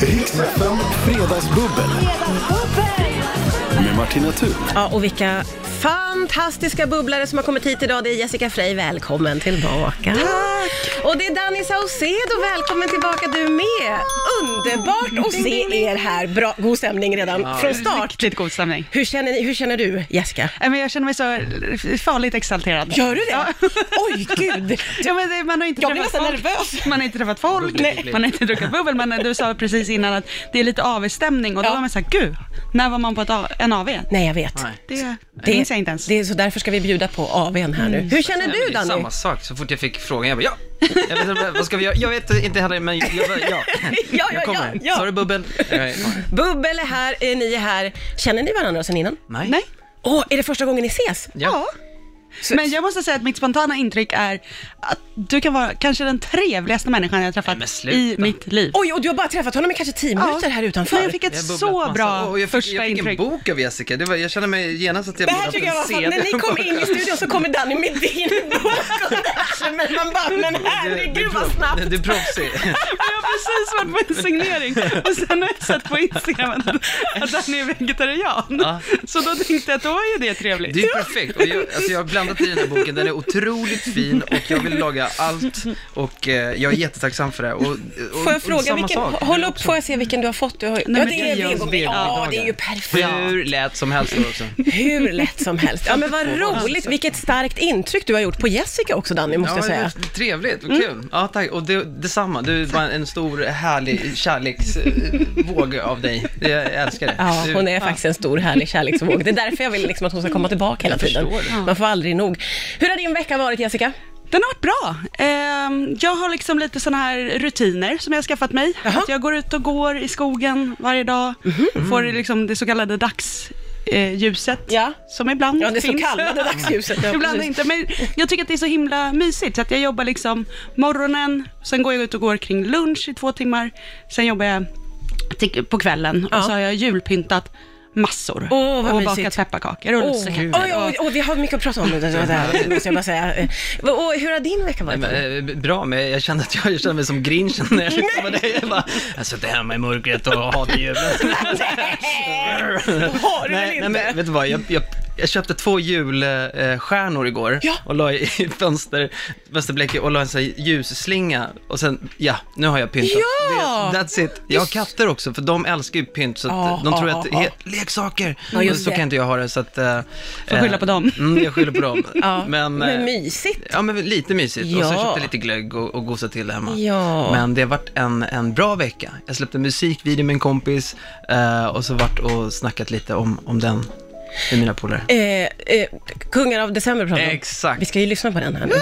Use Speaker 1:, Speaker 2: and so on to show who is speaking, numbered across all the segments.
Speaker 1: Riksfem Fredagsbubbel med Martina Thun.
Speaker 2: Ja, och vilka fantastiska bubblare som har kommit hit idag. Det är Jessica Frey, välkommen tillbaka. Tack! Och det är Danny Saucedo, välkommen tillbaka du med. Underbart att se er här. Bra, god stämning redan från start.
Speaker 3: Riktigt god stämning.
Speaker 2: Hur känner, ni, hur känner du, Jessica?
Speaker 3: Nej, men Jag känner mig så farligt exalterad.
Speaker 2: Gör du det?
Speaker 3: Ja.
Speaker 2: Oj, gud!
Speaker 3: Ja, men det- man har inte
Speaker 2: Jag blir
Speaker 3: träffat
Speaker 2: nästan
Speaker 3: folk.
Speaker 2: nervös.
Speaker 3: Man har inte träffat folk, man har inte druckit bubbel, men du sa precis innan att det är lite AV-stämning och då
Speaker 2: Ja.
Speaker 3: var man såhär, gud, när var man på ett A- en AV?
Speaker 2: Nej, jag vet.
Speaker 3: Det, det minns jag inte ens.
Speaker 2: Det är så därför ska vi bjuda på AWn här nu. Hur känner
Speaker 4: Nej, men
Speaker 2: du,
Speaker 4: det är
Speaker 2: Danny?
Speaker 4: Samma sak, så fort jag fick frågan, jag bara ja! Jag vet, inte, vad ska vi göra? Jag vet inte heller, men jag, jag, ja.
Speaker 2: ja, ja,
Speaker 4: jag kommer.
Speaker 2: ja.
Speaker 4: Sa du bubbel? Jag är-
Speaker 2: Bubbel är här, eh, ni är här. Känner ni varandra sen innan?
Speaker 4: Nej.
Speaker 3: Nej.
Speaker 2: Åh, är det första gången ni ses?
Speaker 4: Ja.
Speaker 3: Men jag måste säga att mitt spontana intryck är att du kan vara kanske den trevligaste människan jag har
Speaker 4: Nej,
Speaker 3: träffat
Speaker 4: men sluta.
Speaker 3: i mitt liv.
Speaker 2: Oj, och du har bara träffat honom i kanske tio minuter här utanför.
Speaker 3: Men jag fick ett
Speaker 4: Jag har
Speaker 3: så
Speaker 4: bubblat massa.
Speaker 3: bra
Speaker 4: Och jag fick,
Speaker 3: första
Speaker 4: jag fick
Speaker 3: intryck.
Speaker 4: en bok av Jessica, det var, jag kände mig genast att jag
Speaker 2: Det här
Speaker 4: hade
Speaker 2: tycker jag var
Speaker 4: haft en
Speaker 2: fan, när ni
Speaker 4: CD.
Speaker 2: kom in i studion så kommer Danny med din bok och där, men man bara, men
Speaker 4: Det- det är
Speaker 2: herregud vad
Speaker 4: proff-
Speaker 2: snabbt.
Speaker 4: det- Det är proffsigt.
Speaker 3: Jag har precis varit på en signering och sen har jag sett på Instagram att att han är vegetarian.
Speaker 4: Ja.
Speaker 3: Så då tänkte jag att då är ju det trevligt.
Speaker 4: Det är ju perfekt. Och jag, alltså jag har blandat i den här boken, den är otroligt fin och jag vill laga allt och eh, jag är jättetacksam för det. Och, och,
Speaker 2: Får jag
Speaker 4: och
Speaker 2: fråga
Speaker 4: samma
Speaker 2: vilken,
Speaker 4: sak.
Speaker 2: håll upp får jag se vilken du har fått. Du har, ja,
Speaker 3: men
Speaker 2: det
Speaker 3: det
Speaker 2: är
Speaker 3: är
Speaker 2: vego.
Speaker 4: hans
Speaker 2: Ja, det är ju perfekt.
Speaker 4: Hur lätt som helst också.
Speaker 2: Hur lätt som helst. Ja, men vad roligt. Vilket starkt intryck du har gjort på Jessica också, Danny, måste jag säga. Mm.
Speaker 4: det var Trevligt, vad kul. Ja, tack. Och det, detsamma, du var en stor härlig kärleksvåg av dig. Jag älskar det.
Speaker 2: Ja,
Speaker 4: du,
Speaker 2: hon är faktiskt en stor härlig kärleksvåg. Det är därför jag vill liksom att hon ska komma tillbaka hela tiden.
Speaker 4: förstår
Speaker 2: Man får aldrig nog. Hur har din vecka varit, Jessica?
Speaker 3: Den har varit bra. Ehm, jag har liksom lite sådana här rutiner som jag har skaffat mig. Att jag går ut och går i skogen varje dag.
Speaker 2: Mhm.
Speaker 3: Får liksom det så kallade dagsljuset.
Speaker 2: Ja.
Speaker 3: Som ibland
Speaker 2: Ja, det så
Speaker 3: finns.
Speaker 2: kallade dagsljuset. Ja,
Speaker 3: Ibland
Speaker 2: precis.
Speaker 3: inte, men jag tycker att det är så himla mysigt. Så att jag jobbar liksom morgonen, sen går jag ut och går kring lunch i två timmar. Sen jobbar jag till, på kvällen
Speaker 2: Ja.
Speaker 3: och så har jag julpyntat massor.
Speaker 2: Åh, vad
Speaker 3: och
Speaker 2: mysigt.
Speaker 3: bakat pepparkakor och
Speaker 2: Åh,
Speaker 3: lussekatter.
Speaker 2: Oh. oj, oj, oj, vi har mycket att prata om, det där, måste jag bara säga. Eh, Och hur har din vecka
Speaker 4: Nej,
Speaker 2: varit?
Speaker 4: men, eh, bra, men jag kände att jag, jag kände mig som grinchen när jag lyssnade på dig. Jag bara, jag sitter hemma i mörkret och hatar julen.
Speaker 2: Det har du väl
Speaker 4: Nej, nej,
Speaker 2: inte?
Speaker 4: men vet du vad, jag, jag, jag köpte två julstjärnor igår
Speaker 2: Ja.
Speaker 4: och la i i fönster, fönsterblecket och la en sån här ljusslinga och sen, ja, nu har jag pyntat.
Speaker 2: Ja!
Speaker 4: Det, that's it. Jag har katter också, för de älskar ju pynt, så att
Speaker 2: Ja,
Speaker 4: de
Speaker 2: ja,
Speaker 4: tror
Speaker 2: ja,
Speaker 4: att,
Speaker 2: ja.
Speaker 4: he, leksaker,
Speaker 2: Ja, just
Speaker 4: så
Speaker 2: det.
Speaker 4: kan inte jag ha det, så att... eh,
Speaker 3: Får skylla
Speaker 4: eh,
Speaker 3: på dem.
Speaker 4: Mm, jag skyller på dem.
Speaker 2: ja. men,
Speaker 4: Men, eh,
Speaker 2: mysigt.
Speaker 4: Ja, men lite mysigt. Och så
Speaker 2: Ja.
Speaker 4: köpte jag lite glögg och, och gosade till det hemma.
Speaker 2: Ja.
Speaker 4: Men det har varit en, en bra vecka. Jag släppte en musikvideo med en kompis eh, och så varit och snackat lite om, om den med mina polare.
Speaker 2: Eh, eh, Kungar av december pratar vi om.
Speaker 4: Exakt.
Speaker 2: Vi ska ju lyssna på den här nu.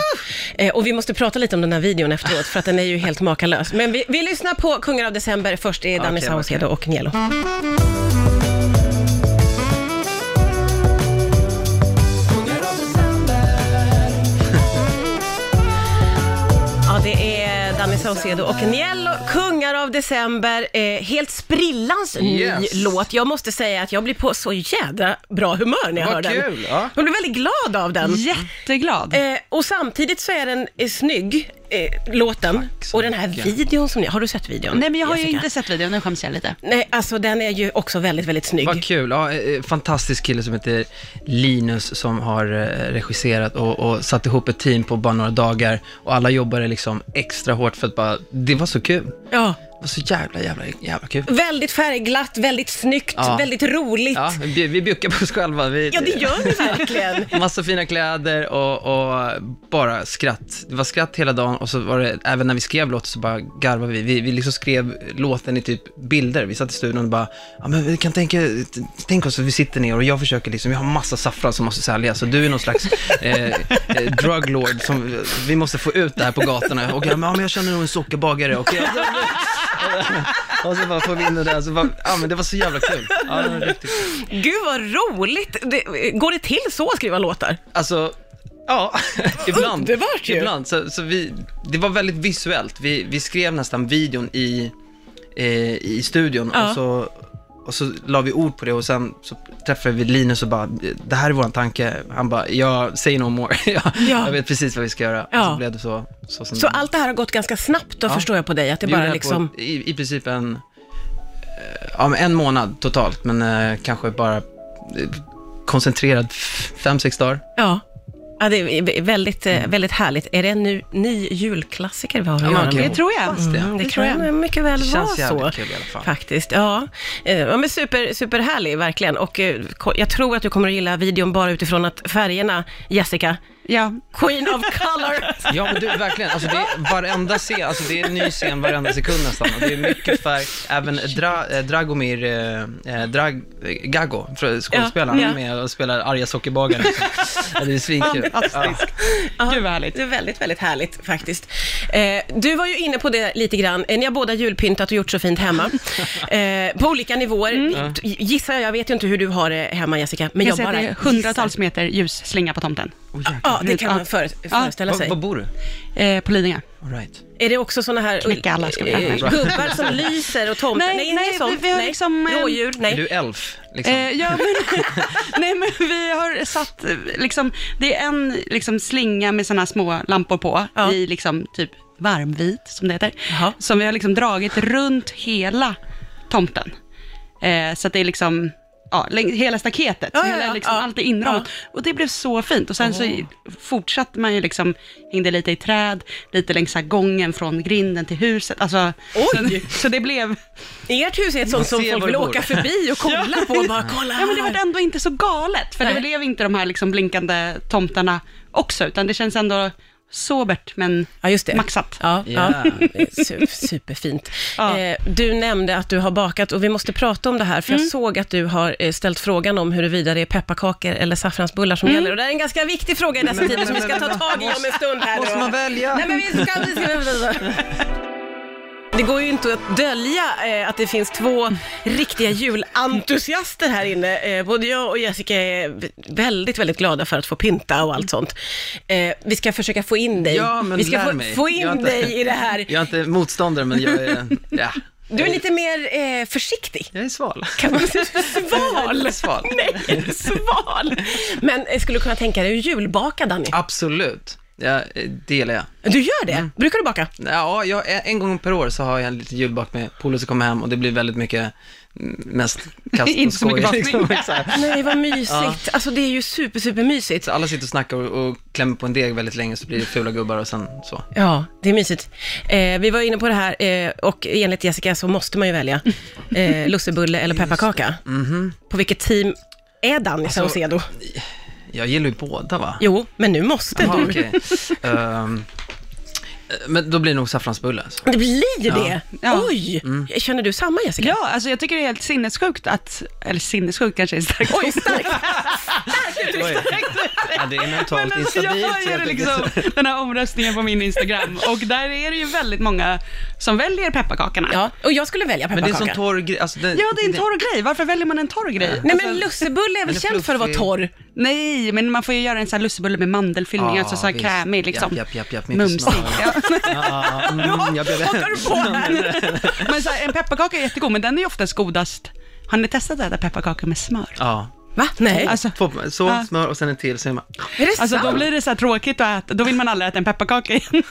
Speaker 2: Eh, och vi måste prata lite om den här videon efteråt, för att den är ju helt makalös. Men vi, vi lyssnar på Kungar av december. Först är Danny
Speaker 4: Okej,
Speaker 2: Saucedo och Nielo. Ja, det är Danny Saucedo och Niello, Kungar av December. Eh, helt sprillans ny
Speaker 4: Yes.
Speaker 2: låt. Jag måste säga att jag blir på så jädra bra humör när jag
Speaker 4: Vad
Speaker 2: hör den.
Speaker 4: kul, ja.
Speaker 2: Jag blir väldigt glad av den.
Speaker 3: Jätteglad.
Speaker 2: Eh, och samtidigt så är den eh, snygg, eh, låten.
Speaker 4: så
Speaker 2: Och den här
Speaker 4: mycket.
Speaker 2: videon som ni... Har du sett videon?
Speaker 3: Nej, men jag har ju
Speaker 2: Jessica?
Speaker 3: inte sett videon, nu skäms jag lite.
Speaker 2: Nej, alltså den är ju också väldigt, väldigt snygg.
Speaker 4: Vad kul. Ja, eh, fantastisk kille som heter Linus som har eh, regisserat och, och satt ihop ett team på bara några dagar. Och alla jobbade liksom extra hårt för att bara, det var så kul. Det
Speaker 2: Ja.
Speaker 4: var så jävla, jävla, jävla kul.
Speaker 2: Väldigt färgglatt, väldigt snyggt,
Speaker 4: Ja.
Speaker 2: väldigt roligt.
Speaker 4: Ja,
Speaker 2: Ja.
Speaker 4: vi, vi bjuckar på oss själva. Vi,
Speaker 2: det gör ni verkligen.
Speaker 4: Massa fina kläder och, och bara skratt. Det var skratt hela dagen och så var det, även när vi skrev låten så bara garvade vi. Vi, vi liksom skrev låten i typ bilder. Vi satt i studion och bara, ja men vi kan tänka, t- tänk oss att vi sitter ner och jag försöker liksom, vi har massa saffran som måste säljas så du är någon slags eh, eh, drug lord som, vi måste få ut det här på gatorna. Och jag, ja, men jag känner nog en sockerbagare och jag, och så bara får vi in det där, så bara, ja men det var så jävla kul. Ja, det var riktigt kul.
Speaker 2: Gud vad roligt! Det, går det till så att skriva låtar?
Speaker 4: Alltså, ja, ibland.
Speaker 2: Underbart ju.
Speaker 4: Ibland. Så, så vi, det var väldigt visuellt. Vi, vi skrev nästan videon i, eh, i studion
Speaker 2: Ja.
Speaker 4: och, så, och så la vi ord på det och sen så träffade vi Linus och bara, det här är våran tanke. Han bara, jag say no more. jag,
Speaker 2: Ja.
Speaker 4: jag vet precis vad vi ska göra.
Speaker 2: Ja.
Speaker 4: Och så blev det så. Så, som
Speaker 2: Så
Speaker 4: det blev.
Speaker 2: allt det här har gått ganska snabbt, då förstår jag på dig, att det
Speaker 4: Vi
Speaker 2: bara
Speaker 4: gjorde här
Speaker 2: liksom...
Speaker 4: på, i, I princip en, eh, ja, men en månad totalt, men eh, kanske bara eh, koncentrerad f- fem, sex dagar.
Speaker 2: Ja. Ja, det är väldigt, eh, väldigt härligt. Är det en ny, ny julklassiker vi har att
Speaker 4: men
Speaker 2: göra
Speaker 4: okej.
Speaker 2: med?
Speaker 3: Det tror jag.
Speaker 4: det.
Speaker 2: Mm, det kan jag mycket väl
Speaker 4: Det känns
Speaker 2: vara så.
Speaker 4: jävligt kul i alla fall.
Speaker 2: Faktiskt, ja. Eh, ja men super, superhärlig, verkligen. Och eh, ko- jag tror att du kommer att gilla videon bara utifrån att färgerna, Jessica,
Speaker 3: Ja.
Speaker 2: Queen of color.
Speaker 4: Ja, men du, verkligen. Alltså, det är varenda scen, alltså, det är en ny scen varenda sekund nästan. Och det är mycket färg. Även Dra, eh, Dragomir eh, eh, Drag, eh, Gago, för- skådespelaren,
Speaker 2: Ja, ja.
Speaker 4: är med och spelar arga sockerbagaren. liksom. Ja, det är svinkul. Ja.
Speaker 3: Fantastiskt. Gud vad härligt.
Speaker 2: Det är väldigt, väldigt härligt faktiskt. Eh, du var ju inne på det lite grann. Eh, Ni har båda julpyntat och gjort så fint hemma. Eh, på olika nivåer. G- Gissar jag, jag vet ju inte hur du har det hemma Jessica, men
Speaker 3: Mm. Jag
Speaker 2: jag,
Speaker 3: säger att
Speaker 2: bara
Speaker 3: det är hundratals meter ljusslinga på tomten.
Speaker 4: Oh,
Speaker 2: Ja,
Speaker 4: jäklar.
Speaker 2: ah, det kan man
Speaker 3: Ja.
Speaker 2: före, föreställa
Speaker 4: Var,
Speaker 2: sig.
Speaker 4: var bor du?
Speaker 3: Eh, på Lidingö.
Speaker 4: All right.
Speaker 2: Är det också såna här
Speaker 3: Knäcka alla ska vi
Speaker 2: eh,
Speaker 3: ha.
Speaker 2: gubbar som lyser och tomtar?
Speaker 3: Nej,
Speaker 2: inte
Speaker 3: nej,
Speaker 2: sånt.
Speaker 3: vi- vi har
Speaker 2: nej.
Speaker 3: liksom, eh,
Speaker 2: Rådjur?
Speaker 4: Är
Speaker 2: Nej.
Speaker 4: du elf? Liksom?
Speaker 3: Eh, ja, men, nej, men vi har satt, eh, liksom, det är en liksom, slinga med sådana små lampor på,
Speaker 2: Ja.
Speaker 3: i liksom, typ varmvit, som det heter,
Speaker 2: Jaha.
Speaker 3: som vi har liksom, dragit runt hela tomten. Eh, så att det är liksom, ja, läng- hela staketet,
Speaker 2: Ja, ja,
Speaker 3: hela,
Speaker 2: ja,
Speaker 3: liksom,
Speaker 2: ja.
Speaker 3: allt är inramat. Och det blev så fint. Och sen så i- fortsatte man ju liksom, hängde lite i träd, lite längs så här gången från grinden till huset. Alltså,
Speaker 2: Oj!
Speaker 3: Så, så det blev...
Speaker 2: Ert hus är ett sånt
Speaker 4: Man
Speaker 2: som
Speaker 4: ser
Speaker 2: folk
Speaker 4: var
Speaker 2: vill
Speaker 4: du bor.
Speaker 2: åka förbi och kolla på och bara kolla
Speaker 3: Ja, men det
Speaker 2: här."
Speaker 3: var ändå inte så galet, för
Speaker 2: Nej.
Speaker 3: det blev inte de här liksom blinkande tomtarna också, utan det känns ändå sobert, men
Speaker 2: Ja, just det.
Speaker 3: maxat.
Speaker 2: Ja,
Speaker 4: Ja.
Speaker 2: ja. Det är su- superfint.
Speaker 3: Ja.
Speaker 2: Eh, du nämnde att du har bakat och vi måste prata om det här, för
Speaker 3: Mm.
Speaker 2: jag såg att du har eh, ställt frågan om huruvida det är pepparkakor eller saffransbullar som
Speaker 3: Mm.
Speaker 2: gäller. Och det är en ganska viktig fråga i dessa tider som vi ska ta tag i om en stund här.
Speaker 4: Måste
Speaker 2: då.
Speaker 4: man välja?
Speaker 2: Nej, men vi ska... Vi ska det går ju inte att dölja eh, att det finns två riktiga julentusiaster här inne. Eh, både jag och Jessica är v- väldigt, väldigt glada för att få pynta och allt sånt. Eh, vi ska försöka få in dig.
Speaker 4: Ja, men
Speaker 2: vi ska
Speaker 4: lär
Speaker 2: få,
Speaker 4: mig.
Speaker 2: få in
Speaker 4: Jag har inte-
Speaker 2: dig i det här.
Speaker 4: Jag är inte motståndare, men jag är... Ja.
Speaker 2: Du är lite mer eh, försiktig.
Speaker 4: Jag är sval.
Speaker 2: Kan man säga sval?
Speaker 4: Sval.
Speaker 2: Nej, sval. Men eh, skulle du kunna tänka dig att julbaka, Danny?
Speaker 4: Absolut. Ja, eh, det gillar jag.
Speaker 2: Du gör det?
Speaker 4: Mm.
Speaker 2: Brukar du baka?
Speaker 4: Ja, jag, en gång per år så har jag en liten julbak med polare som kommer hem och det blir väldigt mycket mm, mest kast och
Speaker 3: Inte så mycket
Speaker 4: skoj. liksom.
Speaker 3: bakning.
Speaker 4: Exakt.
Speaker 2: Nej, vad mysigt. Alltså det är ju super, super mysigt.
Speaker 4: så alla sitter och snackar och, och klämmer på en deg väldigt länge så blir det fula gubbar och sen så.
Speaker 2: Ja, det är mysigt. Eh, vi var inne på det här eh, och enligt Jessica så måste man ju välja eh, lussebulle eller pepparkaka. På vilket team är Danny
Speaker 4: Alltså-
Speaker 2: Saucedo?
Speaker 4: Jag gillar ju båda va?
Speaker 2: Jo, men nu måste
Speaker 4: Jaha,
Speaker 2: du.
Speaker 4: okej. Ehm, eh, men då blir det nog saffransbulle alltså.
Speaker 2: Det blir ju det.
Speaker 3: Ja.
Speaker 2: Oj! Känner du samma Jessica?
Speaker 3: Ja, alltså jag tycker det är helt sinnessjukt att, eller sinnessjukt kanske är starkt.
Speaker 2: Oj, starkt.
Speaker 4: Oj. Ja, det är mentalt
Speaker 3: Men alltså, jag
Speaker 4: instabilt helt
Speaker 3: följer
Speaker 4: enkelt.
Speaker 3: liksom den här omröstningen på min Instagram och där är det ju väldigt många som väljer pepparkakorna.
Speaker 2: Ja, och jag skulle välja
Speaker 4: Men det är en
Speaker 2: pepparkaka.
Speaker 4: sån torr grej. Alltså, det,
Speaker 3: Ja, det är en torr grej. Varför väljer man en torr grej? Alltså-
Speaker 2: Nej, men lussebulle är väl
Speaker 4: Den är
Speaker 2: känd för att vara
Speaker 4: fluffig.
Speaker 2: torr?
Speaker 3: Nej, men man får ju göra en sån här lussebulle med mandelfyllning, alltså så här
Speaker 4: Ah, visst.
Speaker 3: krämig liksom.
Speaker 4: Japp, japp, japp, japp.
Speaker 3: Mumsig. Ja.
Speaker 4: Ja, mm, jag blev...
Speaker 2: Hakar du på här?
Speaker 3: Men så här, en pepparkaka är jättegod, men den är ju oftast godast. Har ni testat att äta pepparkakor med smör?
Speaker 4: Ja.
Speaker 2: Va? Nej.
Speaker 3: Alltså,
Speaker 4: Två, så,
Speaker 3: Ja.
Speaker 4: smör och sen en till, så är man...
Speaker 2: är det
Speaker 3: alltså
Speaker 2: sant?
Speaker 3: då blir det så här tråkigt att äta, då vill man aldrig äta en pepparkaka igen.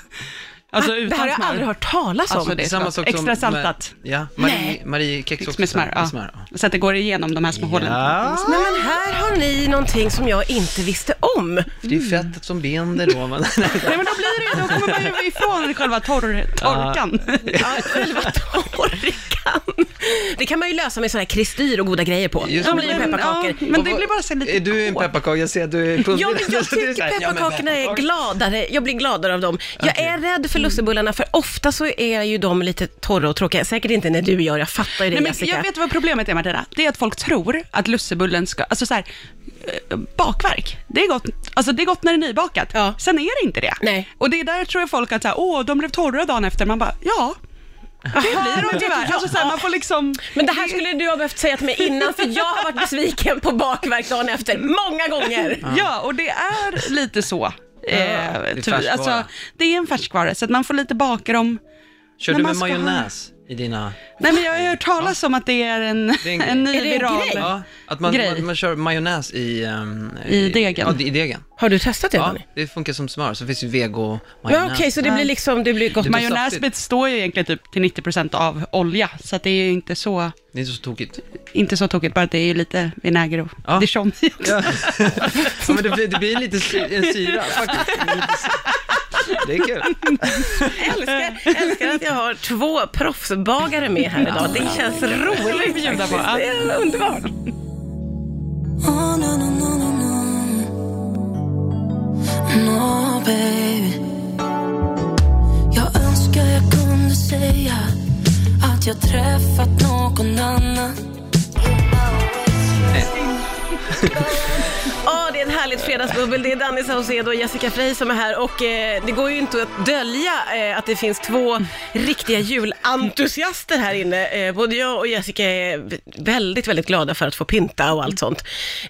Speaker 3: Alltså
Speaker 2: Ah, det här har
Speaker 3: utan
Speaker 2: jag aldrig
Speaker 3: smör.
Speaker 2: hört talas om.
Speaker 3: Alltså, det är
Speaker 4: Samma
Speaker 3: klart.
Speaker 4: sak
Speaker 3: Extra
Speaker 4: som med-
Speaker 3: saltat.
Speaker 4: Ja,
Speaker 2: Nej.
Speaker 4: Marie, Marie kex också.
Speaker 3: Med smör, ja.
Speaker 4: Med smör, ja.
Speaker 3: Så att det går igenom de här små hålen.
Speaker 4: Ja,
Speaker 2: Nej, men här har ni någonting som jag inte visste om.
Speaker 4: för det är ju fettet som binder då. Men,
Speaker 3: Nej men då blir det ju, då kommer man ju ifrån själva torr, torkan.
Speaker 2: Ja, själva torkan. Det kan man ju lösa med sådana här kristyr och goda grejer på.
Speaker 4: Just
Speaker 2: Då
Speaker 4: det.
Speaker 2: blir det pepparkakor.
Speaker 3: Ja, men det blir bara så här lite
Speaker 4: Är du en
Speaker 3: hårt.
Speaker 4: pepparkaka? Jag ser att du är
Speaker 2: Ja, men jag
Speaker 4: Så det är så
Speaker 2: tycker
Speaker 4: här, ja, men
Speaker 2: pepparkakorna är
Speaker 4: pepparkaka.
Speaker 2: gladare. Jag blir gladare av dem. Jag är rädd för lussebullarna, för ofta så är ju de lite torra och tråkiga. Säkert inte när du gör, jag fattar ju det
Speaker 3: Nej, men
Speaker 2: Jessica.
Speaker 3: jag vet vad problemet är Martina, det är att folk tror att lussebullen ska, alltså så här, eh, bakverk, det är gott, alltså det är gott när det är nybakat,
Speaker 2: Ja.
Speaker 3: sen är det inte det.
Speaker 2: Nej.
Speaker 3: Och det är där tror jag folk att så här, åh, de blev torra dagen efter, man bara, ja, det blir de tyvärr. Alltså så här, man får liksom,
Speaker 2: Men det här skulle du ha behövt säga till mig innan, för jag har varit besviken på bakverk dagen efter, många gånger.
Speaker 3: ja, och det är lite så. Eh,
Speaker 4: är
Speaker 3: tyvärr.
Speaker 4: färskvara.
Speaker 3: alltså, det är en färskvara, så att man får lite baka dem.
Speaker 4: Kör
Speaker 3: när
Speaker 4: du
Speaker 3: man
Speaker 4: med
Speaker 3: ska ha-
Speaker 4: majonnäs? I dina...
Speaker 3: Nej, men jag har ju hört talas om att det är en,
Speaker 4: Det är en
Speaker 3: en,
Speaker 4: grej.
Speaker 3: ny
Speaker 2: Är det en
Speaker 3: viral.
Speaker 2: grej?
Speaker 4: Ja, att man,
Speaker 3: Grej.
Speaker 4: man, man kör majonnäs i... ehm,
Speaker 3: I degen.
Speaker 4: Ja, i degen.
Speaker 2: Har du testat det
Speaker 4: Ja,
Speaker 2: Danny?
Speaker 4: det funkar som smör, så finns ju vego
Speaker 2: Ja, okej,
Speaker 4: majonnäs.
Speaker 2: så det blir liksom, det blir gott.
Speaker 4: Det blir
Speaker 3: Majonnäs
Speaker 4: saftigt.
Speaker 3: består ju egentligen typ till 90% av olja, så att det är ju inte så,
Speaker 4: Det är inte så tokigt.
Speaker 3: inte så tokigt, bara att det är ju lite vinäger och
Speaker 4: Ja.
Speaker 3: dijon i också.
Speaker 4: Ja. ja, men det blir, det blir lite sy- en syra faktiskt. Det är lite sy- Det är kul.
Speaker 2: älskar, älskar att jag har två proffsbagare med här idag. Det känns roligt
Speaker 3: bjuda på.
Speaker 2: faktiskt. Det är underbart.
Speaker 5: Oh, no, no, no, no, no. No, baby. Jag önskar jag kunde säga att jag träffat någon annan.
Speaker 2: Ja, det är ett härligt fredagsbubbel. Det är Danny Saucedo och Jessica Frey som är här och eh, det går ju inte att dölja eh, att det finns två riktiga julentusiaster här inne. Eh, både jag och Jessica är v- väldigt, väldigt glada för att få pynta och allt sånt.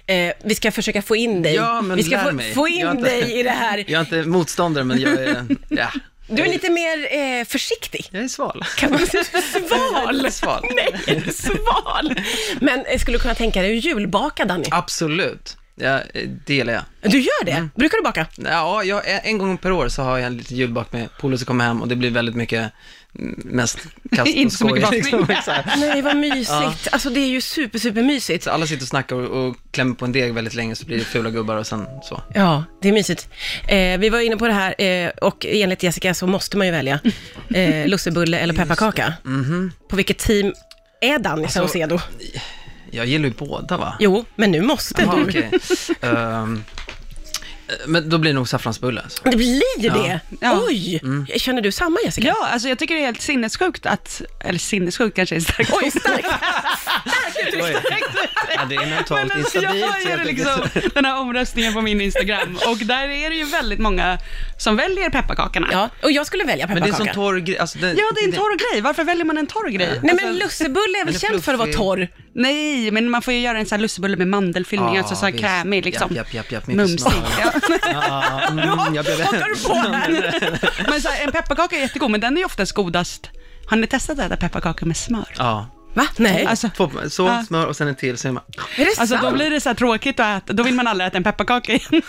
Speaker 2: Eh, vi ska försöka få in dig.
Speaker 4: Ja, men
Speaker 2: vi ska
Speaker 4: lär
Speaker 2: få,
Speaker 4: mig.
Speaker 2: få in
Speaker 4: Jag har inte-
Speaker 2: dig i det här.
Speaker 4: Jag är inte motståndare, men jag är... Ja.
Speaker 2: Du är lite mer eh, försiktig.
Speaker 4: Jag är sval.
Speaker 2: Kan man säga
Speaker 4: Jag är
Speaker 2: sval?
Speaker 4: lite sval.
Speaker 2: Nej, sval. Men eh, skulle du kunna tänka dig att julbaka, Danny?
Speaker 4: Absolut. Ja, eh, det gillar jag.
Speaker 2: Du gör det? Brukar du baka?
Speaker 4: Ja, jag, en gång per år så har jag en liten julbak med polare som kommer hem och det blir väldigt mycket mm, mest kast och
Speaker 3: Inte så mycket
Speaker 4: skoj.
Speaker 3: bakning.
Speaker 4: Liksom, exakt.
Speaker 2: Nej, vad mysigt. Alltså det är ju super, super mysigt.
Speaker 4: så alla sitter och snackar och, och klämmer på en deg väldigt länge så blir det fula gubbar och sen så.
Speaker 2: Ja, det är mysigt. Eh, vi var inne på det här eh, och enligt Jessica så måste man ju välja eh, lussebulle eller pepparkaka. På vilket team är Danny Saucedo?
Speaker 4: Jag gillar ju båda va?
Speaker 2: Jo, men nu måste
Speaker 4: Jaha,
Speaker 2: du.
Speaker 4: okej. Ehm, men då blir det nog saffransbulle alltså.
Speaker 2: Det blir det.
Speaker 3: Ja.
Speaker 2: Oj! Känner du samma Jessica?
Speaker 3: Ja, alltså jag tycker det är helt sinnessjukt att, eller sinnessjukt kanske är starkt.
Speaker 2: Oj, starkt.
Speaker 4: Oj. Ja, det är mentalt
Speaker 3: Men alltså, jag
Speaker 4: instabilt. helt
Speaker 3: har ju
Speaker 4: enkelt.
Speaker 3: liksom den här omröstningen på min Instagram och där är det ju väldigt många som väljer pepparkakorna.
Speaker 2: Ja, och jag skulle välja
Speaker 4: Men det är en
Speaker 2: pepparkaka.
Speaker 4: sån torr grej. Alltså, det,
Speaker 3: Ja, det är en torr grej. Varför väljer man en torr grej? Alltså,
Speaker 2: Nej, men lussebulle är
Speaker 4: Den
Speaker 2: väl
Speaker 4: är
Speaker 2: känd för att vara
Speaker 4: fluffig.
Speaker 2: torr?
Speaker 3: Nej, men man får ju göra en sån här lussebulle med mandelfyllning,
Speaker 4: Ja,
Speaker 3: alltså så här
Speaker 4: visst.
Speaker 3: krämig liksom.
Speaker 4: Japp, japp, japp, japp, mycket
Speaker 3: Mumsig.
Speaker 4: smak.
Speaker 3: Ja.
Speaker 4: Ja, mm, jag blev...
Speaker 2: Vad tar du på med?
Speaker 3: Men så här, en pepparkaka är jättegod, men den är ju oftast godast. Har ni testat att äta pepparkakor med smör?
Speaker 4: Ja.
Speaker 2: Va? Nej.
Speaker 3: Alltså,
Speaker 4: Två, så,
Speaker 3: Ja.
Speaker 4: smör och sen en till, så är man...
Speaker 2: är det
Speaker 3: alltså
Speaker 2: sant?
Speaker 3: då blir det så här tråkigt att äta, då vill man aldrig äta en pepparkaka igen.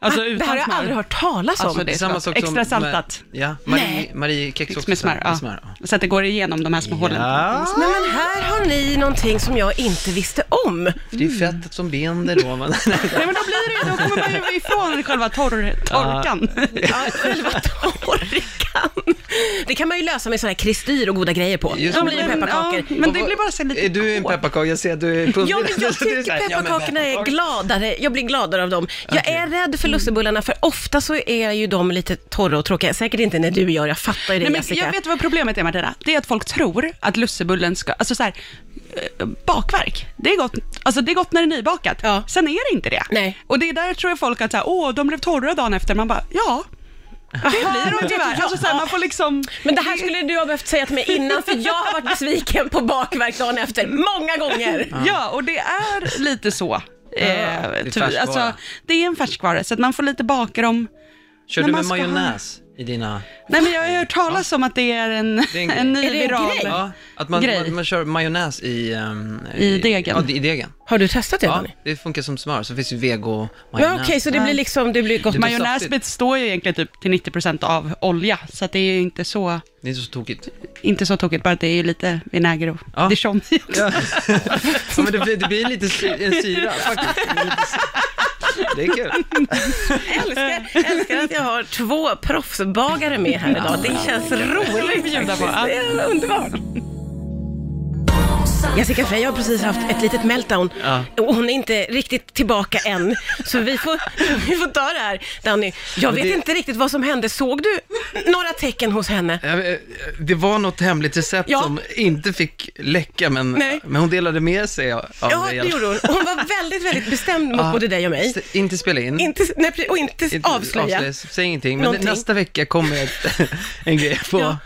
Speaker 3: Alltså
Speaker 2: det här har
Speaker 3: utan
Speaker 2: jag aldrig
Speaker 3: smör.
Speaker 2: hört talas om.
Speaker 3: Alltså, det är
Speaker 4: Samma
Speaker 3: smart.
Speaker 4: sak
Speaker 3: Extra
Speaker 4: som med-
Speaker 3: saltat.
Speaker 4: Ja,
Speaker 2: Nej.
Speaker 4: Marie, Marie kex också.
Speaker 3: Med smör, ja.
Speaker 4: Med smör, ja.
Speaker 3: Så att det går igenom de här små hålen.
Speaker 4: Ja,
Speaker 2: Nej, men här har ni någonting som jag inte visste om.
Speaker 4: för det är ju fettet som binder då. Men,
Speaker 3: Nej men då blir det ju, då kommer man ju ifrån själva torr, torkan.
Speaker 2: Ja, själva torkan. Det kan man ju lösa med sådana här kristyr och goda grejer på.
Speaker 4: Just
Speaker 2: Då
Speaker 4: det.
Speaker 2: blir det
Speaker 3: Men,
Speaker 2: pepparkakor.
Speaker 3: ja, men det blir bara så lite
Speaker 4: Är du en
Speaker 3: kåt.
Speaker 4: pepparkaka? Jag ser att du är
Speaker 2: Ja, men jag
Speaker 4: Så det är så
Speaker 2: tycker
Speaker 4: här, ja, men
Speaker 2: pepparkakorna är
Speaker 4: pepparkakor. Mm.
Speaker 2: gladare. Jag blir gladare av dem. Jag är rädd för lussebullarna, för ofta så är ju de lite torra och tråkiga. Säkert inte när du gör, jag fattar ju det
Speaker 3: Nej, men
Speaker 2: Jessica.
Speaker 3: jag vet vad problemet är Martina, det är att folk tror att lussebullen ska, alltså så här, eh, bakverk, det är gott, alltså det är gott när det är nybakat,
Speaker 2: Ja.
Speaker 3: sen är det inte det.
Speaker 2: Nej.
Speaker 3: Och det är där tror jag folk att så här, åh, de blev torra dagen efter, man bara, ja, det blir de tyvärr. Alltså så här, man får liksom,
Speaker 2: Men det här skulle du ha behövt säga till mig innan, för jag har varit besviken på bakverk dagen efter, många gånger.
Speaker 3: ja, och det är lite så.
Speaker 4: är
Speaker 3: Eh, tyvärr.
Speaker 4: färskvara.
Speaker 3: alltså, det är en färskvara, så att man får lite baka dem.
Speaker 4: Kör
Speaker 3: Men
Speaker 4: du
Speaker 3: man
Speaker 4: med
Speaker 3: ska ha-
Speaker 4: majonnäs i dina...
Speaker 3: Nej, men jag har ju hört talas om att det är en,
Speaker 4: Det är en
Speaker 3: en,
Speaker 4: grej.
Speaker 3: ny
Speaker 2: Är det en
Speaker 3: viral.
Speaker 2: grej?
Speaker 4: Ja, att man,
Speaker 3: Grej.
Speaker 4: man, man kör majonnäs i... ehm,
Speaker 3: I degen.
Speaker 4: Ja, i degen.
Speaker 2: Har du testat det
Speaker 4: Ja,
Speaker 2: Danny?
Speaker 4: det funkar som smör, så finns ju vego
Speaker 2: Ja,
Speaker 4: majonnäs.
Speaker 2: okej, så det blir liksom, det blir gott.
Speaker 4: Det blir
Speaker 3: Majonnäs
Speaker 4: saftigt.
Speaker 3: består ju egentligen typ till 90% av olja, så att det är ju inte så
Speaker 4: Det är inte så tokigt.
Speaker 3: inte så tokigt, bara att det är ju lite vinäger och
Speaker 4: Ja.
Speaker 3: dijon i också.
Speaker 4: Ja, ja men det blir, det blir lite sy- en syra faktiskt. Det är lite sy- Det är kul.
Speaker 2: älskar, älskar att jag har två proffsbagare med här idag. Det känns roligt
Speaker 3: bjuda på.
Speaker 2: faktiskt. Det är underbart. Jessica Frey har precis haft ett litet meltdown
Speaker 4: Ja.
Speaker 2: och hon är inte riktigt tillbaka än. Så vi får, vi får ta det här, Danny. Jag
Speaker 4: Men
Speaker 2: vet
Speaker 4: det-
Speaker 2: inte riktigt vad som hände. Såg du några tecken hos henne?
Speaker 4: Ja, men, eh, Det var något hemligt recept
Speaker 2: Ja.
Speaker 4: som inte fick läcka, men,
Speaker 2: Nej.
Speaker 4: men hon delade med sig av
Speaker 2: Ja,
Speaker 4: i
Speaker 2: det
Speaker 4: alla fall.
Speaker 2: gjorde hon. Och Hon var väldigt, väldigt bestämd mot
Speaker 4: Ja.
Speaker 2: både dig och mig.
Speaker 4: S- Inte spela in.
Speaker 2: Inte, nej, precis, och inte,
Speaker 4: Inte
Speaker 2: avslöja.
Speaker 4: Säg ingenting, men
Speaker 2: Någonting.
Speaker 4: nästa vecka kommer ett, en grej på,
Speaker 2: Ja.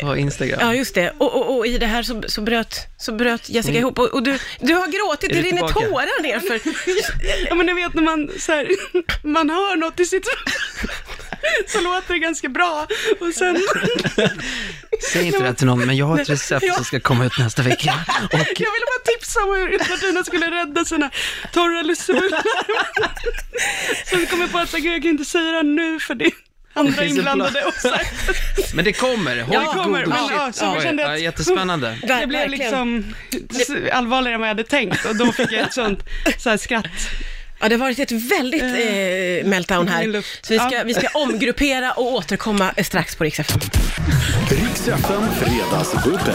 Speaker 4: på Instagram.
Speaker 2: Ja, just det. Och, och, och i det här så, så, bröt, så bröt Jessica ihop. Och, och du, du har gråtit,
Speaker 4: Mm. Är
Speaker 2: det
Speaker 4: du
Speaker 2: rinner
Speaker 4: tillbaka?
Speaker 2: tårar ner för...
Speaker 3: Ja, men ni vet när man, så här, man hör något i sitt så låter det ganska bra och sen
Speaker 4: Säg inte det här till någon, men jag har ett recept som ska komma ut nästa vecka. Och
Speaker 3: Jag ville bara tipsa om hur Martina skulle rädda sina torra lussebullar. Sen kommer jag på att så här, "Gud, jag kan inte säga det här nu för det är
Speaker 4: Det
Speaker 3: andra
Speaker 4: finns en
Speaker 3: inblandade.
Speaker 4: plan.
Speaker 3: Och så här.
Speaker 4: Men det kommer, håll
Speaker 3: Ja, det kommer,
Speaker 4: god
Speaker 3: men
Speaker 4: shit.
Speaker 3: ja, så
Speaker 4: Oj,
Speaker 3: kände jag
Speaker 4: ja,
Speaker 3: att-
Speaker 4: jättespännande.
Speaker 2: Ver-
Speaker 3: Det blev
Speaker 2: verkligen.
Speaker 3: liksom allvarligare än vad jag hade tänkt och då fick jag ett sånt så här, skratt.
Speaker 2: Ja, det har varit ett väldigt eh, meltdown
Speaker 3: min
Speaker 2: här.
Speaker 3: luft.
Speaker 2: Så vi ska,
Speaker 3: Ja.
Speaker 2: vi ska omgruppera och återkomma strax på Rix FM.
Speaker 1: Riks FM Fredagsbubbel.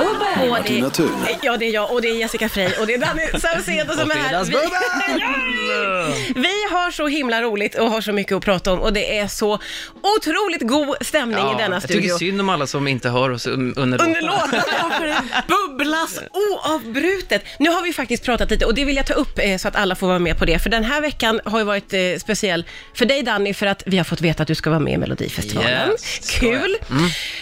Speaker 2: Och det-
Speaker 1: Martina Thun.
Speaker 2: Ja, det är jag och det är Jessica Frey och det är Danny Saucedo som är här. Vi, vi har så himla roligt och har så mycket att prata om och det är så otroligt god stämning i denna
Speaker 4: jag tycker
Speaker 2: studio.
Speaker 4: synd om alla som inte hör oss un- under låten.
Speaker 2: Under låten, ja, för det bubblas oavbrutet. Nu har vi faktiskt pratat lite och det vill jag ta upp eh, så att alla får vara med på det. För den här veckan har ju varit eh, speciell för dig Danny, för att vi har fått veta att du ska vara med i Melodifestivalen.
Speaker 4: Yes, ska Mm.
Speaker 2: Kul!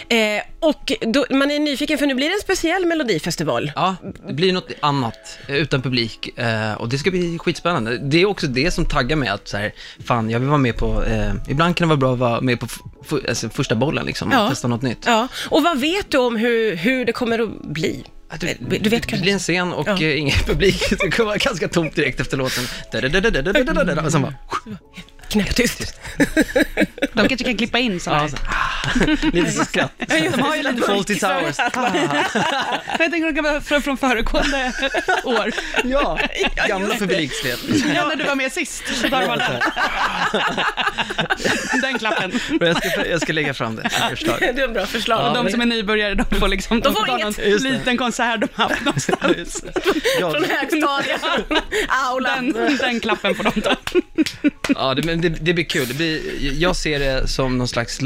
Speaker 2: Eh, och då, man är nyfiken för nu blir det en speciell Melodifestival.
Speaker 4: Ja, det blir något annat eh, utan publik eh, och det ska bli skitspännande. Det är också det som taggar mig att så här, fan jag vill vara med på, eh, ibland kan det vara bra att vara med på f- f- alltså, första bollen liksom,
Speaker 2: Ja.
Speaker 4: och testa något nytt.
Speaker 2: Ja, och vad vet du om hur, hur det kommer att bli?
Speaker 4: Att
Speaker 2: Du,
Speaker 4: det-
Speaker 2: vet
Speaker 4: det
Speaker 2: kanske?
Speaker 4: blir en scen och
Speaker 2: Ja.
Speaker 4: eh, ingen publik. Det kommer vara ganska tomt direkt efter låten. Da-da-da-da-da-da-da-da. Och sen bara,
Speaker 2: Knäpptyst.
Speaker 3: De kanske kan klippa in sådana.
Speaker 4: ja, så, ah, lite så skratt.
Speaker 3: De har ju lite
Speaker 4: Fawlty
Speaker 3: burk
Speaker 4: Towers.
Speaker 3: Jag tänker att de kan vara från, från föregående år.
Speaker 4: Ja, gamla publikslet.
Speaker 3: Ja, när du var med sist. Så där var den. Den klappen.
Speaker 4: Men Jag ska, jag ska lägga fram det som förslag.
Speaker 2: Det är en bra förslag.
Speaker 4: Ja,
Speaker 3: Och de som är nybörjare, de får liksom
Speaker 2: De får
Speaker 3: ta
Speaker 2: inget.
Speaker 4: Just det.
Speaker 3: liten konsert de haft någonstans.
Speaker 4: Ja,
Speaker 2: Från högstadiet, aulan.
Speaker 3: Den, den klappen får de ta.
Speaker 4: ja det, men det, det blir kul. Det blir, jag ser det som någon slags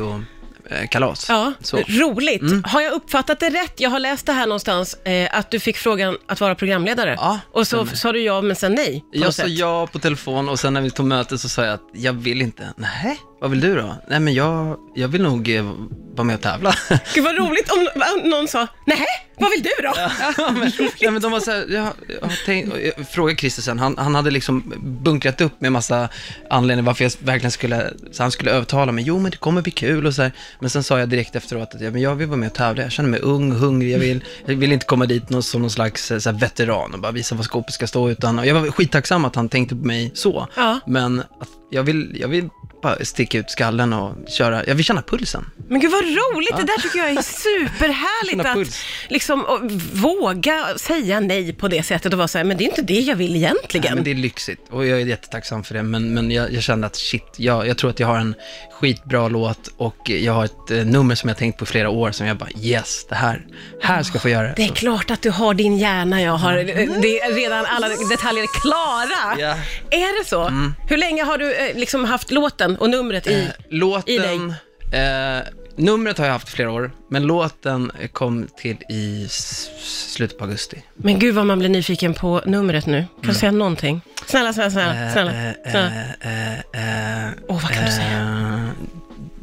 Speaker 4: livemusikvideo-kalas.
Speaker 2: Ja,
Speaker 4: Så. Mm.
Speaker 2: roligt. Har jag uppfattat det rätt? Jag har läst det här någonstans, eh, att du fick frågan att vara programledare.
Speaker 4: Ja,
Speaker 2: och så sa du ja, men sen nej. på något
Speaker 4: Jag sa
Speaker 2: sätt.
Speaker 4: ja på telefon och sen när vi tog möte så sa jag att jag vill inte. Nej, vad vill du då? Nej men jag, jag vill nog eh, vara med och tävla.
Speaker 2: Gud vad roligt om om någon sa, nej, vad vill du då?
Speaker 4: Ja, men, nej, men de var så här, jag, jag har tänkt, jag frågade Christer sen, han, han hade liksom bunkrat upp med massa anledningar varför jag verkligen skulle, så han skulle övertala mig, jo men det kommer bli kul och så här. Men sen sa jag direkt efteråt att ja, men jag vill vara med och tävla, jag känner mig ung, hungrig, jag vill, jag vill inte komma dit någon, som någon slags eh, så här, veteran och bara visa vad skåpet ska stå utan, och jag var skittacksam att han tänkte på mig så,
Speaker 2: Ja.
Speaker 4: men att jag vill, jag vill bara sticka ut skallen och köra, jag vill känna pulsen.
Speaker 2: Men gud vad roligt, det där tycker jag är superhärligt.
Speaker 4: Känna
Speaker 2: att
Speaker 4: puls.
Speaker 2: liksom, och våga säga nej på det sättet och vara så här, men det är inte det jag vill egentligen.
Speaker 4: Nej, men det är lyxigt och jag är jättetacksam för det. Men, men jag, jag kände att shit, jag, jag tror att jag har en skitbra låt och jag har ett eh, nummer som jag tänkt på i flera år som jag bara yes, det här, här ska jag få göra det.
Speaker 2: Det är klart att du har din hjärna, jag har eh, det är redan alla detaljer klara.
Speaker 4: Mm. Ja. Mm.
Speaker 2: Är det så? Hur länge har du eh, liksom haft låten och numret i? i dig.
Speaker 4: eh, Låten, eh, numret har jag haft i flera år, men låten eh, kom till i s- slutet på augusti.
Speaker 2: Men gud vad man blir nyfiken på numret nu. Kan du säga någonting? Snälla, snälla, snälla. snälla,
Speaker 4: Mm. Eh, eh,
Speaker 2: snälla.
Speaker 4: eh, eh,
Speaker 2: Åh, vad kan du säga?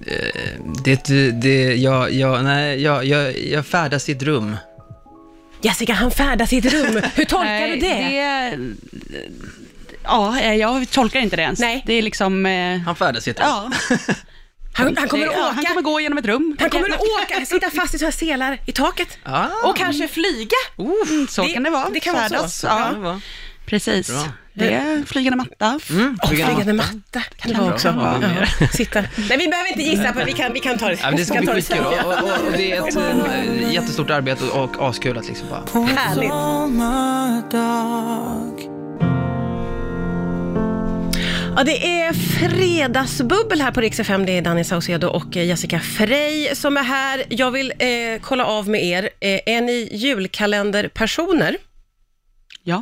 Speaker 4: eh, eh, Det, det, det, jag, jag, nej, jag, jag, jag färdas i ett rum.
Speaker 2: Jessica, han färdas i ett rum. Hur tolkar du det?
Speaker 3: Ja, eh, jag tolkar inte det ens.
Speaker 2: Nej.
Speaker 3: Det är liksom... eh,
Speaker 4: Han färdas i ett rum.
Speaker 3: Ja,
Speaker 2: Han, han kommer att åka.
Speaker 3: det- ja, han kommer gå genom ett rum.
Speaker 2: han kommer att åka, sitta fast i så här selar i taket.
Speaker 4: Ah.
Speaker 2: Och kanske flyga.
Speaker 3: Mm, så kan det vara.
Speaker 2: det kan vara så.
Speaker 3: Färdas,
Speaker 4: Ja,
Speaker 3: Ja,
Speaker 4: det var.
Speaker 3: precis. Det är flygande matta.
Speaker 4: Mm,
Speaker 2: Och
Speaker 4: flygande
Speaker 2: flygande
Speaker 4: matta.
Speaker 2: matta kan det vara också.
Speaker 4: vara.
Speaker 2: Ja, sitta. Nej, vi behöver inte gissa, men vi kan, vi kan ta det.
Speaker 4: Ja, men det ska
Speaker 2: Vi
Speaker 4: bli
Speaker 2: kan ta
Speaker 4: skitkul och, och, och det är ett eh, jättestort arbete och, och askul att liksom bara...
Speaker 2: Härligt.
Speaker 5: Sommardag.
Speaker 2: Ja, det är fredagsbubbel här på Rix FM. Det är Danny Saucedo och eh, Jessica Frey som är här. Jag vill eh, kolla av med er. Eh, är ni julkalenderpersoner?
Speaker 3: Ja.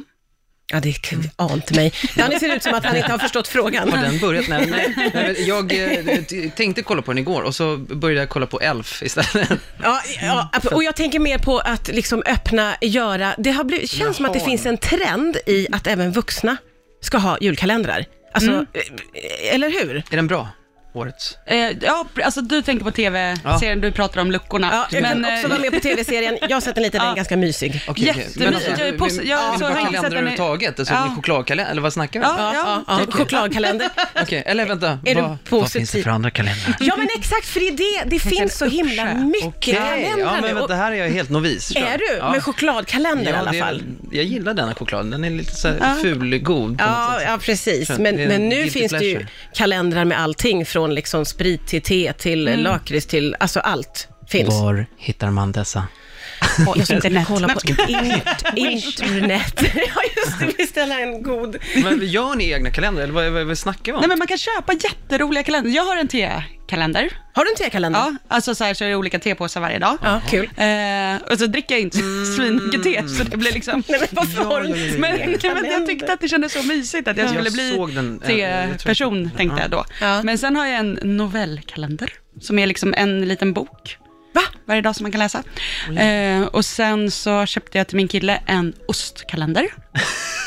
Speaker 2: Ja, det k- ant mig. Danny ser ut som att han inte har förstått frågan.
Speaker 4: Har den börjat? Nej, nej, nej, men jag eh, t- tänkte kolla på den igår och så började jag kolla på Elf istället.
Speaker 2: Ja, ja, och jag tänker mer på att liksom öppna, göra. Det har blivit, känns som att det
Speaker 4: Jaha.
Speaker 2: finns en trend i att även vuxna ska ha julkalendrar. Alltså, eh, eller hur?
Speaker 4: Är den bra? årets?
Speaker 3: Eh, ja, alltså du tänker på tv-serien, du pratar om luckorna.
Speaker 2: Ja, jag kan
Speaker 3: eh,
Speaker 2: också vara med på tv-serien. Jag har sett en liten, den är ganska mysig.
Speaker 4: Okej, okej.
Speaker 3: Jättemycket. Jag är posi- jag-
Speaker 4: ja,
Speaker 3: så
Speaker 4: så
Speaker 3: har
Speaker 4: har
Speaker 3: jag inte sett
Speaker 4: kalender
Speaker 3: den i-
Speaker 4: överhuvudtaget? Alltså,
Speaker 3: Ja.
Speaker 4: ja. Chokladkalender, eller vad snackar vi om?
Speaker 3: Ja,
Speaker 2: Ja, ja,
Speaker 4: okej.
Speaker 2: Chokladkalender.
Speaker 4: Okej, eller vänta.
Speaker 2: Är du
Speaker 4: vad, vad finns
Speaker 2: positiv?
Speaker 4: det för andra kalendrar?
Speaker 2: Ja men exakt, för det är det, det finns så himla mycket
Speaker 4: Okej,
Speaker 2: kalendrar
Speaker 4: ja
Speaker 2: nu.
Speaker 4: men
Speaker 2: Och-
Speaker 4: vänta, här är jag helt novis. tror jag.
Speaker 2: Är du?
Speaker 4: Ja.
Speaker 2: Med chokladkalender i
Speaker 4: Ja,
Speaker 2: alla
Speaker 4: det är-
Speaker 2: fall.
Speaker 4: Jag gillar denna chokladen, den är lite så här fulgod på något
Speaker 2: Ja,
Speaker 4: sätt.
Speaker 2: ja, precis.
Speaker 4: Skönt.
Speaker 2: Men,
Speaker 4: Det är en
Speaker 2: men nu
Speaker 4: guilty
Speaker 2: finns det ju
Speaker 4: pleasure.
Speaker 2: kalendrar med allting, från liksom sprit till te till
Speaker 4: Mm.
Speaker 2: lakrits till, alltså allt finns.
Speaker 4: Var hittar man dessa?
Speaker 2: Ja, jag ska
Speaker 3: Internet.
Speaker 2: kolla på int, internet. Ja, just det, beställa en god.
Speaker 4: Men gör ni egna kalendrar, eller vad, vad, vad snackar vi om?
Speaker 3: Nej men man kan köpa jätteroliga kalendrar. Jag har en tekalender.
Speaker 2: Har du en tekalender?
Speaker 3: Ja, alltså så här så är det olika tepåsar varje dag.
Speaker 2: Mm. Ja, kul.
Speaker 3: Eh, och så dricker jag inte
Speaker 4: Mm.
Speaker 3: svinmycket te, så det blir liksom...
Speaker 2: Nej, men varför har du
Speaker 4: ja, ja,
Speaker 2: inte
Speaker 4: ja.
Speaker 3: Men,
Speaker 2: en
Speaker 3: men jag tyckte att det kändes så mysigt att jag
Speaker 4: Ja.
Speaker 3: skulle
Speaker 4: Jag såg
Speaker 3: bli
Speaker 4: den, eh, jag tror jag
Speaker 3: te-person,
Speaker 4: såg den.
Speaker 3: tänkte jag då.
Speaker 2: Ja.
Speaker 3: Men sen har jag en novellkalender, som är liksom en liten bok
Speaker 2: Va?
Speaker 3: varje dag som man kan läsa. Eh, och sen så köpte jag till min kille en ostkalender.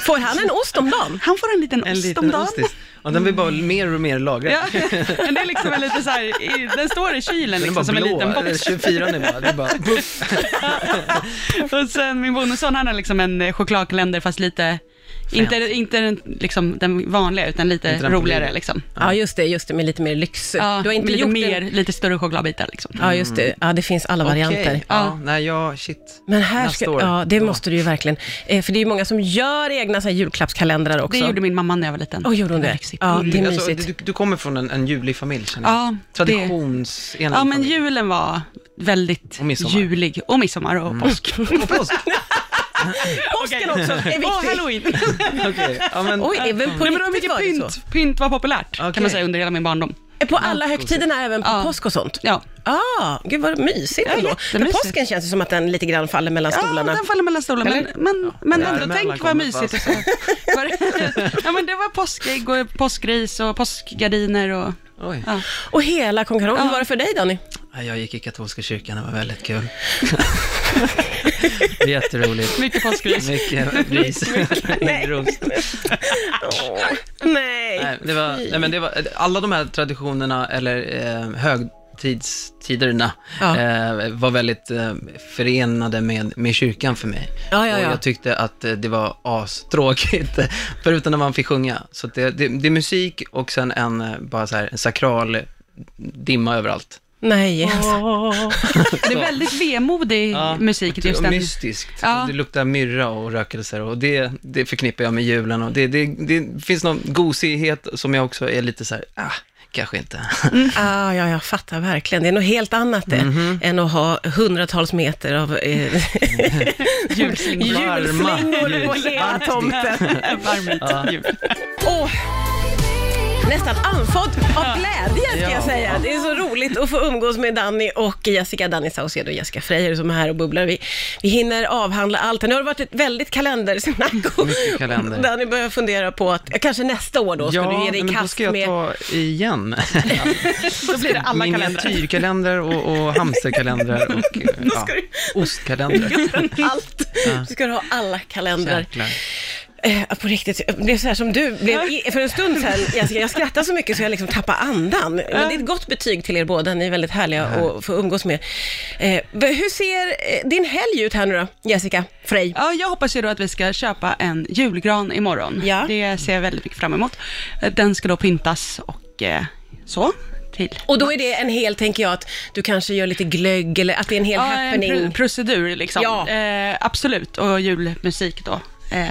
Speaker 2: Får han en ost om dagen?
Speaker 3: Han får en liten
Speaker 4: En
Speaker 3: ost
Speaker 4: liten
Speaker 3: om dagen.
Speaker 4: ostis. Ja, den blir bara mer och mer lagrad.
Speaker 3: Mm. Ja, men det är liksom en lite så här, i, den står i kylen
Speaker 4: Den är
Speaker 3: liksom,
Speaker 4: bara
Speaker 3: som en
Speaker 4: blå,
Speaker 3: liten
Speaker 4: eller
Speaker 3: box.
Speaker 4: 24 nu bara. Det är bara puff.
Speaker 3: Och sen min bonusson, han har liksom en eh, chokladkalender fast lite, inte, inte den, liksom, den vanliga utan lite
Speaker 4: Inte den på
Speaker 3: roligare
Speaker 4: bilen.
Speaker 3: liksom.
Speaker 2: Ja, just det, just det, med lite mer lyx.
Speaker 3: Ja,
Speaker 2: du har inte
Speaker 3: med lite
Speaker 2: gjort
Speaker 3: mer,
Speaker 2: En...
Speaker 3: lite större chokladbitar liksom.
Speaker 2: Ja, just det. Ja, det finns alla varianter.
Speaker 4: Okej, Ja, nej, jag, shit.
Speaker 2: Men här
Speaker 4: Nästa
Speaker 2: ska,
Speaker 4: år.
Speaker 2: ja, det måste du ju verkligen. Eh, för det är ju många som gör egna så här, julklappskalendrar också.
Speaker 3: Det gjorde min mamma när jag var liten.
Speaker 2: Åh, gjorde hon det?
Speaker 3: Lyxigt.
Speaker 2: Ja, det är
Speaker 4: Alltså,
Speaker 2: mysigt.
Speaker 4: du, du kommer från en, en ljuvlig familj, känner jag.
Speaker 3: Ja, det-
Speaker 4: Traditionsenlig
Speaker 3: Ja, men
Speaker 4: familj.
Speaker 3: julen var väldigt
Speaker 4: Och midsommar. Mm.
Speaker 3: julig. Och midsommar och påsk.
Speaker 4: Och påsk.
Speaker 2: Påsken också är viktig.
Speaker 3: Och halloween.
Speaker 4: Okej, ja, men-
Speaker 2: Oj, även på
Speaker 3: Nej, men det var
Speaker 2: riktigt
Speaker 3: mycket
Speaker 2: var det så?
Speaker 3: pynt. Pynt var populärt, kan
Speaker 4: Okej.
Speaker 3: man säga, under hela min barndom.
Speaker 2: På alla högtiderna, även på
Speaker 3: Ja.
Speaker 2: påsk och sånt?
Speaker 3: Ja.
Speaker 2: Ah, gud vad mysigt
Speaker 3: Ja,
Speaker 2: ändå. För
Speaker 3: jättemysigt.
Speaker 2: påsken känns det som att den lite grann faller mellan
Speaker 3: Ja,
Speaker 2: stolarna.
Speaker 3: den faller mellan stolarna. Men, men, men
Speaker 4: Ja,
Speaker 3: ändå,
Speaker 4: däremellan
Speaker 3: tänk
Speaker 4: kommer
Speaker 3: vad mysigt.
Speaker 4: fast.
Speaker 3: Och så. Var det- ja, men det var påskägg och påskris och påskgardiner och...
Speaker 4: Oj.
Speaker 3: Ja.
Speaker 2: Och hela konkarongen, hur var det för dig Danny?
Speaker 4: Ja, Jag gick i katolska kyrkan, det var väldigt kul. Jätteroligt.
Speaker 3: Mycket påskris.
Speaker 4: Mycket ris. Mycket rost.
Speaker 2: Åh, nej.
Speaker 4: Nej, det var, nej, men det var, alla de här traditionerna eller eh, högtidstiderna
Speaker 2: Ja.
Speaker 4: eh, var väldigt eh, förenade med, med kyrkan för mig.
Speaker 2: Ja, ja,
Speaker 4: Och
Speaker 2: ja.
Speaker 4: jag tyckte att eh, det var astråkigt, förutom när man fick sjunga. Så att det, det, det är musik och sen en, eh, bara så här, en sakral dimma överallt.
Speaker 2: Nej, alltså.
Speaker 3: Det är väldigt vemodig
Speaker 4: Ja.
Speaker 3: musik just
Speaker 4: och
Speaker 3: den.
Speaker 4: mystiskt.
Speaker 3: Ja.
Speaker 4: Det luktar myrra och rökelser och det, det förknippar jag med julen och det, det, det finns någon gosighet som jag också är lite så här, ah, kanske inte.
Speaker 2: Ah, ja, jag fattar verkligen. Det är något helt annat det,
Speaker 4: Mhm.
Speaker 2: än att ha hundratals meter av eh,
Speaker 3: Julslingor.
Speaker 2: julslingor på
Speaker 4: ljus.
Speaker 2: hela tomten.
Speaker 3: Varmt jul.
Speaker 2: Åh, nästan andfådd av glädje ska jag
Speaker 4: Ja.
Speaker 2: säga. Det är så roligt att få umgås med Danny och Jessica, Danny Saucedo och Jessica Frejer som är här och bubblar. Vi, vi hinner avhandla allt. Nu har det varit ett väldigt kalendersnack och
Speaker 4: Mycket kalender.
Speaker 2: Danny börjar fundera på att eh, kanske nästa år då ska du ge dig i
Speaker 4: men då
Speaker 2: kast
Speaker 4: ska jag
Speaker 2: med...
Speaker 4: ta igen.
Speaker 3: Då blir det alla kalendrar.
Speaker 4: Miniatyrkalender och, och hamsterkalendrar och eh, ja,
Speaker 2: du-
Speaker 4: ostkalendrar.
Speaker 2: Allt. Du ska du ha alla kalendrar.
Speaker 4: Jäklar.
Speaker 2: Eh, på riktigt, jag blev så här som du blev i, för en stund sedan. Jessica, jag skrattar så mycket så jag liksom tappar andan. Men det är ett gott betyg till er båda, ni är väldigt härliga att få umgås med. Eh, hur ser eh, din helg ut här nu då, Jessica Frey?
Speaker 3: Ja, jag hoppas ju då att vi ska köpa en julgran imorgon.
Speaker 2: Ja.
Speaker 3: Det ser jag väldigt mycket fram emot. Den ska då pyntas och eh, så till
Speaker 2: Och då är det en hel, tänker jag, att du kanske gör lite glögg eller att det är en hel
Speaker 3: Ja, en
Speaker 2: happening.
Speaker 3: pr- procedur liksom.
Speaker 2: Ja.
Speaker 3: Eh, absolut, och julmusik då. Eh,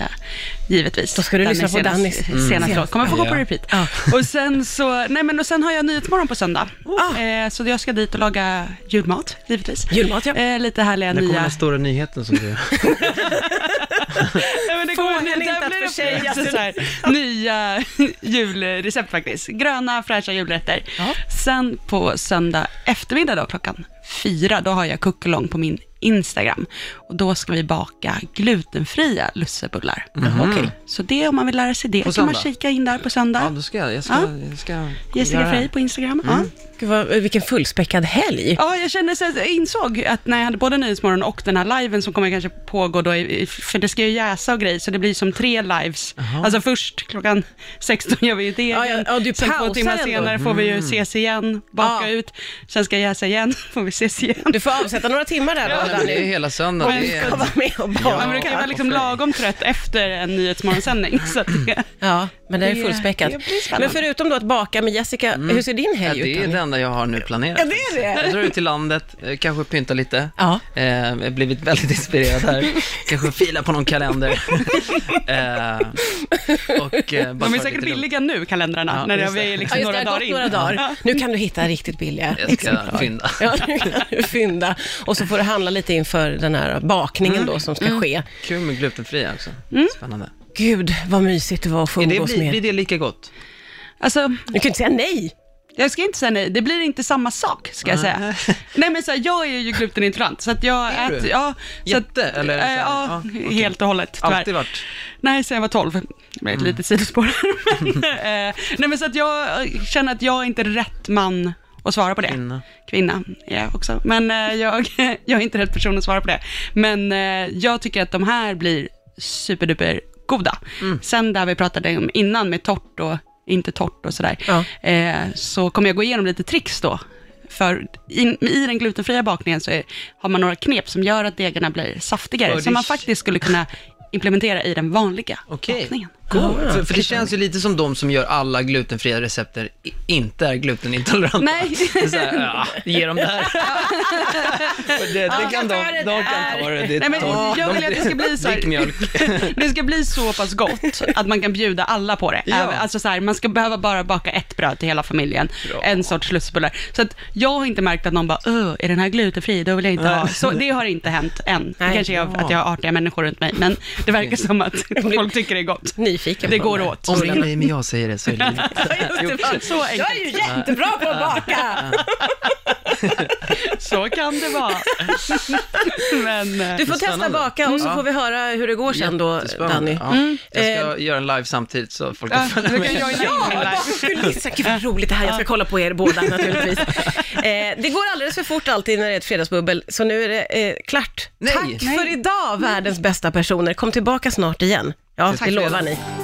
Speaker 3: givetvis.
Speaker 2: Då ska du lyssna på Dannys
Speaker 3: Dannis senaste
Speaker 2: senaste.
Speaker 3: låt. Kommer få gå på
Speaker 4: Ja.
Speaker 3: repeat. Och, sen så, nej, men, och sen har jag Nyhetsmorgon på söndag.
Speaker 2: Ah.
Speaker 3: Eh, så jag ska dit och laga julmat, givetvis.
Speaker 2: Julmat, ja.
Speaker 3: Eh, lite härliga
Speaker 4: När kommer
Speaker 3: nya...
Speaker 4: den stora nyheten som du...
Speaker 3: Nej, men det
Speaker 2: Får
Speaker 3: kommer-
Speaker 2: henne
Speaker 3: där
Speaker 2: inte att
Speaker 3: blir det
Speaker 2: försäga
Speaker 3: också
Speaker 2: sig.
Speaker 3: så här, Nya julrecept faktiskt. Gröna fräscha julrätter. Sen på söndag eftermiddag då, klockan fyra, då har jag kuckelång på min Instagram. Och då ska vi baka glutenfria lussebullar.
Speaker 2: Okej.
Speaker 3: Så det, om man vill lära sig det, kan man
Speaker 4: Mm. söndag?
Speaker 3: kika in där på söndag.
Speaker 4: Ja, då ska jag, jag ska,
Speaker 3: Ja.
Speaker 4: jag ska
Speaker 3: Jessica
Speaker 4: göra det. Mm.
Speaker 3: Frey på Instagram. Ja.
Speaker 2: Gud, vad, vilken fullspäckad helg.
Speaker 3: Ja, jag kände så jag insåg att när jag hade både Nyhetsmorgon och den här liven som kommer kanske pågå då, i- i- för det ska ju jäsa och grejer, så det blir som tre lives. Alltså först klockan 16 gör vi ju det.
Speaker 2: Ja, ja, ja, du
Speaker 3: Sen två
Speaker 2: pausar
Speaker 3: timmar
Speaker 2: ändå. Mm.
Speaker 3: senare får vi ju ses igen, baka
Speaker 2: Ja.
Speaker 3: ut, sen ska jag jäsa igen, får vi ses igen.
Speaker 2: Du får avsätta några timmar där då,
Speaker 4: Ja, men det är
Speaker 2: Danny.
Speaker 4: hela söndagen. Det
Speaker 2: Ska
Speaker 4: är,
Speaker 2: vara med och
Speaker 3: Man brukar ju vara
Speaker 2: baka.
Speaker 3: liksom lagom trött efter en Nyhetsmorgonsändning. Så att det,
Speaker 2: Ja, men det är
Speaker 3: Det-
Speaker 2: fullspäckat.
Speaker 3: det blir spännande.
Speaker 2: Men förutom då att baka med Jessica, hur ser din
Speaker 4: Mm. ja,
Speaker 2: helg ut?
Speaker 4: det är
Speaker 2: Danny?
Speaker 4: det enda jag har nu planerat.
Speaker 2: Ja, det är det.
Speaker 4: Jag drar ut till landet, eh, kanske pyntar lite.
Speaker 2: Ja.
Speaker 4: Eh, jag har blivit väldigt inspirerad här. kanske filar på någon kalender. eh, och, eh, bara
Speaker 3: de
Speaker 4: ta
Speaker 3: är
Speaker 4: det
Speaker 3: säkert
Speaker 4: lite lugnt.
Speaker 3: billiga nu, kalendrarna,
Speaker 4: Ja,
Speaker 3: när det
Speaker 4: just det.
Speaker 3: är
Speaker 2: Ja,
Speaker 3: liksom
Speaker 2: just det,
Speaker 3: några
Speaker 2: det har
Speaker 3: dagar
Speaker 2: gått
Speaker 3: in.
Speaker 2: några dagar. Nu kan du hitta riktigt billiga
Speaker 4: Jag ska fynda.
Speaker 2: Ja, nu kan du fynda. Och så får du handla lite inför den här bakningen då som ska ske.
Speaker 4: Kul med glutenfria också.
Speaker 3: Mm.
Speaker 4: Spännande.
Speaker 2: Gud, vad mysigt det var att få
Speaker 4: Är det,
Speaker 2: umgås
Speaker 4: blir,
Speaker 2: med.
Speaker 4: blir det lika gott?
Speaker 3: Alltså,
Speaker 2: Du kan ju inte säga nej.
Speaker 3: Jag ska inte säga nej, det blir inte samma sak ska jag säga. Nej men så här, jag är ju glutenintolerant så att jag
Speaker 4: Är du?
Speaker 3: äter, ja. så att-
Speaker 4: Jätte, eller är det så
Speaker 3: eh,
Speaker 4: här?
Speaker 3: Ja,
Speaker 4: Ja, okej.
Speaker 3: helt och hållet tyvärr.
Speaker 4: Alltid varit.
Speaker 3: Nej, sen jag var 12. Det blev ett
Speaker 4: Mm.
Speaker 3: litet sidospår. men, eh, nej men så att jag eh, känner att jag är inte rätt man att svara på det.
Speaker 4: Kvinna.
Speaker 3: Kvinna är jag också. Men eh, jag, jag är inte rätt person att svara på det. Men eh, jag tycker att de här blir superduper goda.
Speaker 4: Mm.
Speaker 3: Sen där vi pratade om innan med torrt och inte torrt och sådär,
Speaker 2: Ja.
Speaker 3: eh, så kommer jag gå igenom lite tricks då. För in, i den glutenfria bakningen så är, har man några knep som gör att degarna blir saftigare,
Speaker 4: För
Speaker 3: som
Speaker 4: det-
Speaker 3: man faktiskt skulle kunna implementera i den vanliga
Speaker 4: Okej.
Speaker 3: bakningen.
Speaker 4: Coolt. för, för det känns ju lite som de som gör alla glutenfria recepter i- inte är glutenintoleranta.
Speaker 3: Nej.
Speaker 4: Det är så här, ja, ge dem det här. För det, det kan de, de kan ta det. det
Speaker 3: Nej, men
Speaker 4: tar-
Speaker 3: jag
Speaker 4: de-
Speaker 3: vill att det ska bli så här-
Speaker 4: Drick mjölk.
Speaker 3: Det ska bli så pass gott att man kan bjuda alla på det.
Speaker 4: Ja.
Speaker 3: Även- Alltså så här, man ska behöva bara baka ett bröd till hela familjen, en sorts lussebullar. Så att jag har inte märkt att någon bara, "Öh, är den här glutenfri? Då vill jag inte ha. Så det har inte hänt än.
Speaker 2: Nej.
Speaker 3: Det kanske är av att jag har artiga människor runt mig, men det verkar som att folk tycker det är gott.
Speaker 2: Nyfiken
Speaker 3: Det
Speaker 2: på
Speaker 3: går
Speaker 2: den
Speaker 3: åt.
Speaker 4: Om ingen men jag säger det så är det lugnt.
Speaker 3: Så enkelt.
Speaker 2: Jag är ju jättebra på att baka!
Speaker 3: Så kan det vara. Men, eh,
Speaker 2: Du får testa
Speaker 4: Spännande.
Speaker 2: baka och så
Speaker 4: Ja.
Speaker 2: får vi höra hur det går sen då,
Speaker 4: Jättespännande.
Speaker 2: Danny.
Speaker 4: Ja. Jag ska göra en live samtidigt så folk kan
Speaker 3: Mm. Eh. ja,
Speaker 4: följa
Speaker 3: nu
Speaker 4: med.
Speaker 3: kan jag ju in min live.
Speaker 2: Kulissa, Gud vad roligt det här, jag ska kolla på er båda naturligtvis. Eh, det går alldeles för fort alltid när det är ett fredagsbubbel, så nu är det eh, klart.
Speaker 4: Nej.
Speaker 2: Tack
Speaker 4: Nej.
Speaker 2: för idag världens bästa personer, kom tillbaka snart igen. Ja, det
Speaker 4: fredag.
Speaker 2: lovar ni.